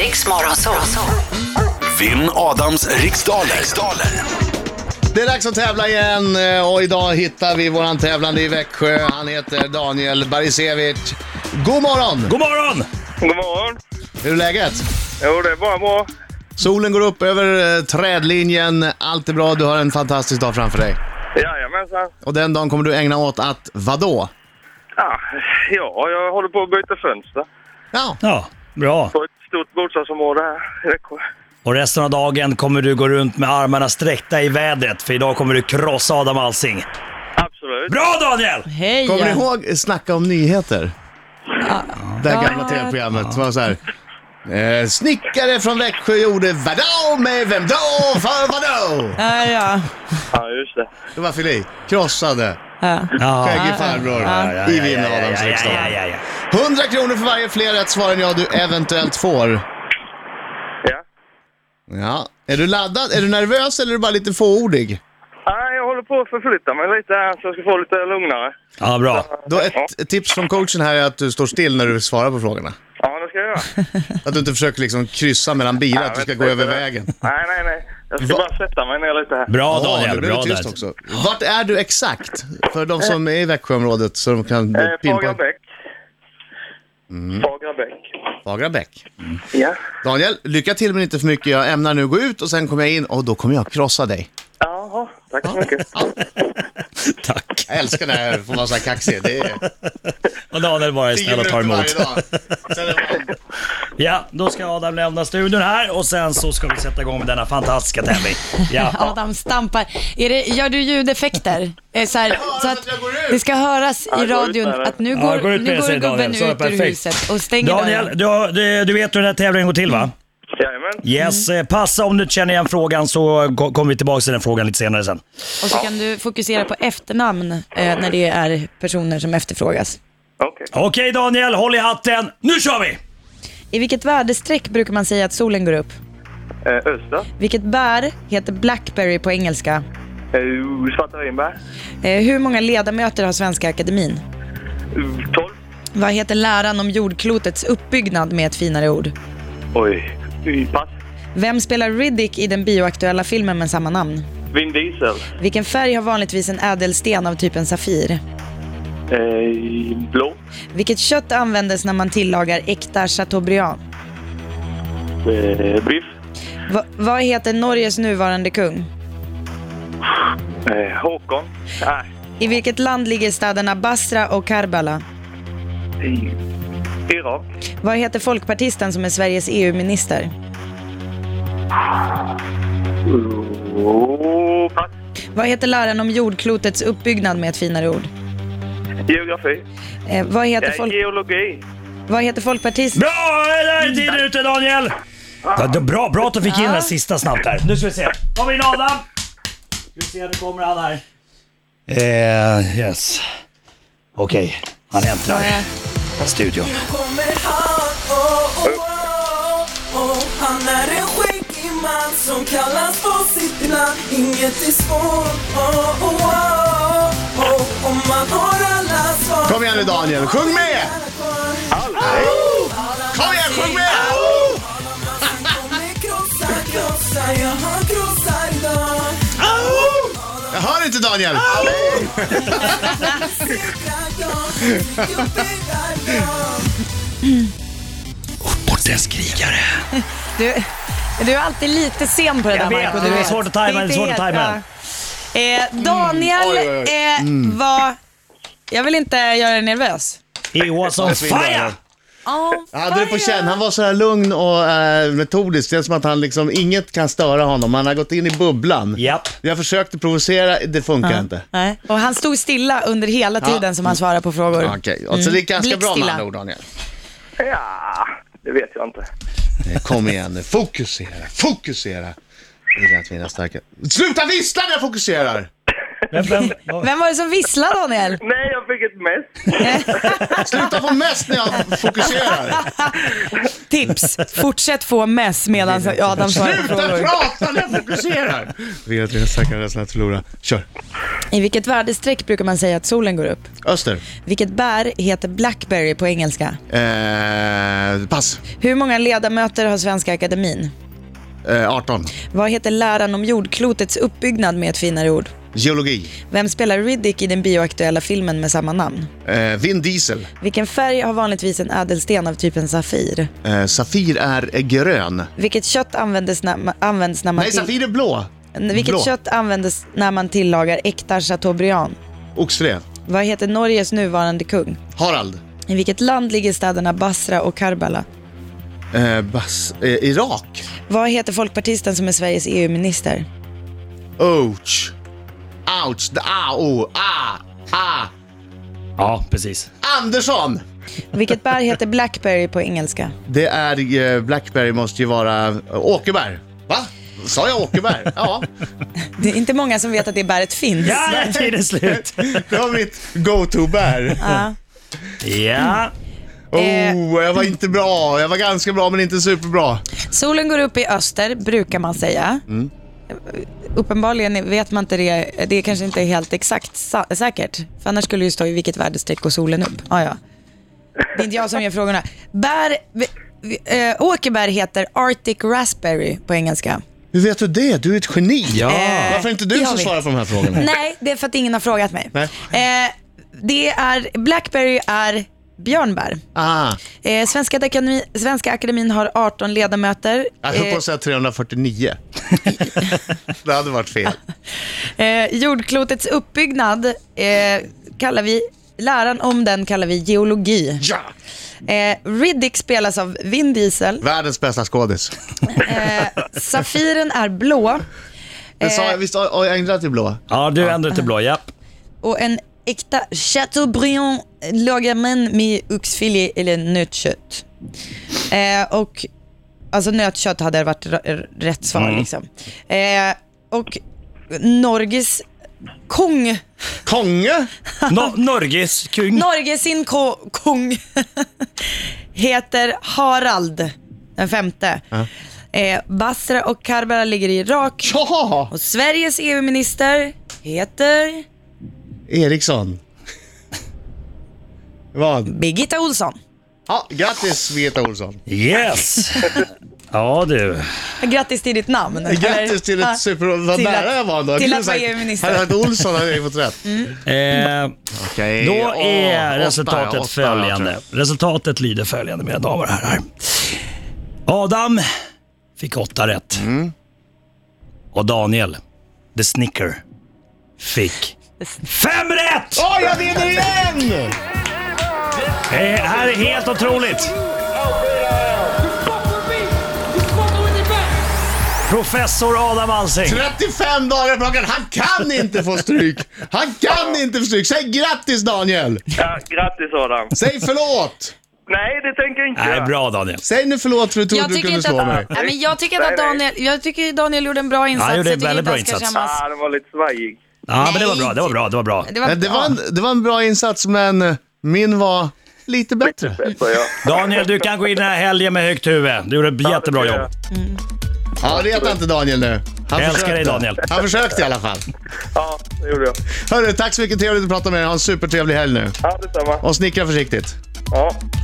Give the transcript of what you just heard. Riks Morgonzoo. Vinn Adams riksdaler. riksdaler. Det är dags att tävla igen eh, och idag hittar vi våran tävlande i Växjö. Han heter Daniel Barisevic. God morgon! God morgon! God morgon. Hur är läget? Jo, det är bara bra. Solen går upp över eh, trädlinjen. Allt är bra, du har en fantastisk dag framför dig. Jajamensan. Och den dagen kommer du ägna åt att vadå? Ja, ja, jag håller på att byta fönster Ja, Ja, bra. på ett stort bostadsområde här i Växjö. Och resten av dagen kommer du gå runt med armarna sträckta i vädret, för idag kommer du krossa Adam Alsing. Absolut. Bra Daniel! Hej! kommer ni ihåg Snacka om nyheter? Det här gamla tv-programmet som var så här. Eh, snickare från Växjö gjorde vadå med vem då för vadå? Ja, ja. Ja, just det. Det var Fili. Krossade. ja. Ja. Skäggig farbror. Ja, ja, I ja, Vinn ja, ja, Adams ja, riksdag. ja, ja, ja. 100 kronor för varje fler rätt svar än jag du eventuellt får. Ja. Ja. Är du laddad? Är du nervös eller är du bara lite fåordig? Nej, jag håller på att förflytta mig lite här så jag ska få lite lugnare. Ja, bra. Då ett ett tips från coachen här är att du står still när du svarar på frågorna. Ja, det ska jag göra. Att du inte försöker liksom kryssa mellan bilar, att du ska vet gå inte över det. vägen. Nej, nej, nej. Jag ska Va? bara sätta mig ner lite här. Bra Ja, Daniel, nu blev bra det tyst där. också. Vart är du exakt? För de som är i Växjöområdet så de kan Eh, pinpointa. Fagerbäck. Mm. Fagerbäck. Fagerbäck. Ja. Daniel, lycka till men inte för mycket. Jag ämnar nu gå ut och sen kommer jag in och då kommer jag krossa dig. Jaha, tack så mycket. Tack. Jag älskar när jag får vara så här kaxig. Det är Och Daniel bara är tio snäll och tar minuter emot. varje dag. Sen är det- Ja, då ska Adam lämna studion här och sen så ska vi sätta igång med denna fantastiska tävling. Ja. Adam stampar. Är det, gör du ljudeffekter? Eh, Så, här, så att det ska höras i gå ut radion med det. att nu Ja, går, gå ut med nu det, går säger gubben Daniel. Så är det ut ur perfekt. huset och stänger Daniel, dörren. du, har- du, du vet hur den här tävlingen går till va? Jajamän. Yes, eh, passa om du känner igen frågan så ko- kommer vi tillbaka till den frågan lite senare sen. Och så kan du fokusera på efternamn eh, när det är personer som efterfrågas. Okej. Okej Daniel, håll i hatten. Nu kör vi! I vilket väderstreck brukar man säga att solen går upp? Eh, Öster. Vilket bär heter blackberry på engelska? Eh, Svarta Vinberg. Eh, Hur många ledamöter har Svenska Akademin? Eh, 12. Vad heter läran om jordklotets uppbyggnad med ett finare ord? Oj. Eh, Pass. Vem spelar Riddick i den bioaktuella filmen med samma namn? Vin Diesel. Vilken färg har vanligtvis en ädelsten av typen Safir? Eh, blå. Vilket kött användes när man tillagar äkta chateaubriand? Eh, biff. Va- vad heter Norges nuvarande kung? Eh, Håkon. Nej. I vilket land ligger städerna Basra och Karbala? I- Irak. Vad heter folkpartisten som är Sveriges EU-minister? Oh, pass. Vad heter läran om jordklotets uppbyggnad med ett finare ord? Geografi. Eh, vad, heter Eh, folk- geologi. vad heter folkpartisten? Bra! Där är tiden ute Daniel! Ja, det- bra, bra att du fick in den här sista snabbt här. Nu ska vi se. Kom in Adam! Nu ser jag, nu kommer han här. Eh, yes. Okej, han äntrar studion. kommer han, oh, oh, oh, oh. Han är en skäggig man som kallas på sitt namn Inget är svårt, oh, oh, oh, oh. Om man har alla svar Kom igen nu, Daniel. Sjung med! Kom igen, sjung med! Krossa, krossa, ja han krossar idag Jag hör inte Daniel! Segrar jag, sticker upp i världen Ortens krigare. Du, du är alltid lite sen på det Jag där vet, Marco, det du är svårt att tajma, är inte det är svårt att helt- tajma. ja. Eh, Daniel Mm. Oj, oj, Mm. oj. Eh, var... Jag vill inte göra dig nervös. He was on fire! Jag hade det på känn. Han var så här lugn och eh, metodisk. Det är som att han liksom, inget kan störa honom. Han har gått in i bubblan. Japp. Jag försökte provocera, det funkar inte. Nej. Och han stod stilla under hela tiden som han svarade på frågor. Okej, och så det gick ganska bra med Blickstilla. andra ord, Daniel. Ja, det vet jag inte. Eh, Kom igen nu, fokusera, fokusera. Vill jag att mina starka... Sluta vissla när jag fokuserar! Vem, vem, Vem var det som visslade Daniel? Nej, jag fick vilket mest. Sluta få mest när jag fokuserar. Tips, fortsätt få mess medan Adam svarar på Sluta frågor. prata när jag fokuserar. Vet du, jag stackare rädslan att förlora. Kör. I vilket väderstreck brukar man säga att solen går upp? Öster. Vilket bär heter blackberry på engelska? Eh, pass. Hur många ledamöter har Svenska Akademin? Eh, 18. Vad heter läran om jordklotets uppbyggnad med ett finare ord? Geologi. Vem spelar Riddick i den bioaktuella filmen med samma namn? Eh, Vin Diesel. Vilken färg har vanligtvis en ädelsten av typen safir? Eh, Safir är eh, grön. Vilket kött användes när, används när man Nej, Safir är blå. vilket blå. kött användes när man tillagar äkta chateaubriand? Oxfilé. Vad heter Norges nuvarande kung? Harald. I vilket land ligger städerna Basra och Karbala? Eh, bas, eh, Irak. Vad heter folkpartisten som är Sveriges E EU-minister? Ouch. Ouch. The A, O, A, A. Ja, precis. Andersson! Vilket bär heter Blackberry på engelska? Det är, eh, Blackberry måste ju vara eh, åkerbär. Va? Sa jag åkerbär? Ja. Det är inte många som vet att det bäret finns. Ja, där är tiden slut. Det var mitt go-to-bär. Ja. Eh. Ja. Oh, jag var inte bra. Jag var ganska bra men inte superbra. Solen går upp i öster, brukar man säga. Mm. Uppenbarligen vet man inte det. Det är kanske inte helt exakt sa- säkert. För annars skulle det ju stå i vilket väderstreck går solen upp. Ah, ja. Det är inte jag som gör frågorna. Bär, vi, vi, eh, åkerbär heter Arctic Raspberry på engelska. Hur vet du det? Du är ett geni. Eh, Varför är inte du jag som vet. svarar på de här frågorna? Nej, det är för att ingen har frågat mig. Nej. Eh, det är, Blackberry är björnbär. Ah, Eh, Svenska, Akademi, Svenska Akademin har 18 ledamöter. jag höll på Eh, att säga 349. det hade varit fel. Eh, jordklotets uppbyggnad eh, kallar vi, läran om den kallar vi geologi. Ja! Eh, Riddick spelas av Vin Diesel. Världens bästa skådis. Eh, Safiren är blå Jag sa, Eh. visst har har jag ändrat till blå? ja, du ändrar till blå, japp. och en äkta Chateaubriand lagar man med oxfilé eller nötkött. Eh, och, alltså nötkött hade varit r- r- rätt svar. Liksom. Eh, och Norges kung, Konge? No, Norges kung. Norge sin ko- kung heter Harald den femte. Eh, Basra och Karbala ligger i Irak. Ja! Och Sveriges EU-minister heter Eriksson. Vad? Birgitta Olsson. Ja, grattis Birgitta Olsson. Yes. Ja du. Grattis till ditt namn. Eller- Grattis till Ja. ett super... Vad till att- nära jag var ändå. Jag till kunde att vara sagt- EU-minister. Mm. Hade jag sagt Olsson hade jag fått rätt. Eh, Okej. Då åh, är åtta, resultatet åtta, följande. jag Resultatet lyder följande, mina damer och herrar. Adam fick åtta rätt. Mm. Och Daniel, the snicker, fick fem rätt! tror. Åh, jag vinner igen! Det här är helt otroligt! Professor Adam Alsing. 35 dagar på raken. Han kan inte få stryk. Han kan inte få stryk. Säg grattis Daniel! Ja, grattis Adam. Säg förlåt! Nej, det tänker jag inte Nej, göra. bra Daniel. Säg nu förlåt för du trodde Jag du tycker, kunde inte slå att, mig. nej, men jag tycker inte att Nej, Daniel, jag tycker Daniel gjorde en bra insats. Ja, han gjorde Jag en tycker väldigt bra inte han ska insats. skämmas. Ah, den var lite svajig. Ja, men det var bra, det var bra, det var bra. Det var, Men Eh, Det var, bra. en, det var en bra insats men eh, min var lite bättre. Så jag. Daniel, du kan gå in den här helgen med högt huvud. Du gjorde ett jättebra jobb. Ja, reta inte Daniel nu. Han Jag älskar dig, försökte. Daniel. Han försökte i alla fall. Ja, det gjorde jag. Hörru, tack så mycket. Trevligt att prata med dig. Ha en supertrevlig helg nu. Ja, detsamma. Och snickra försiktigt. Ja.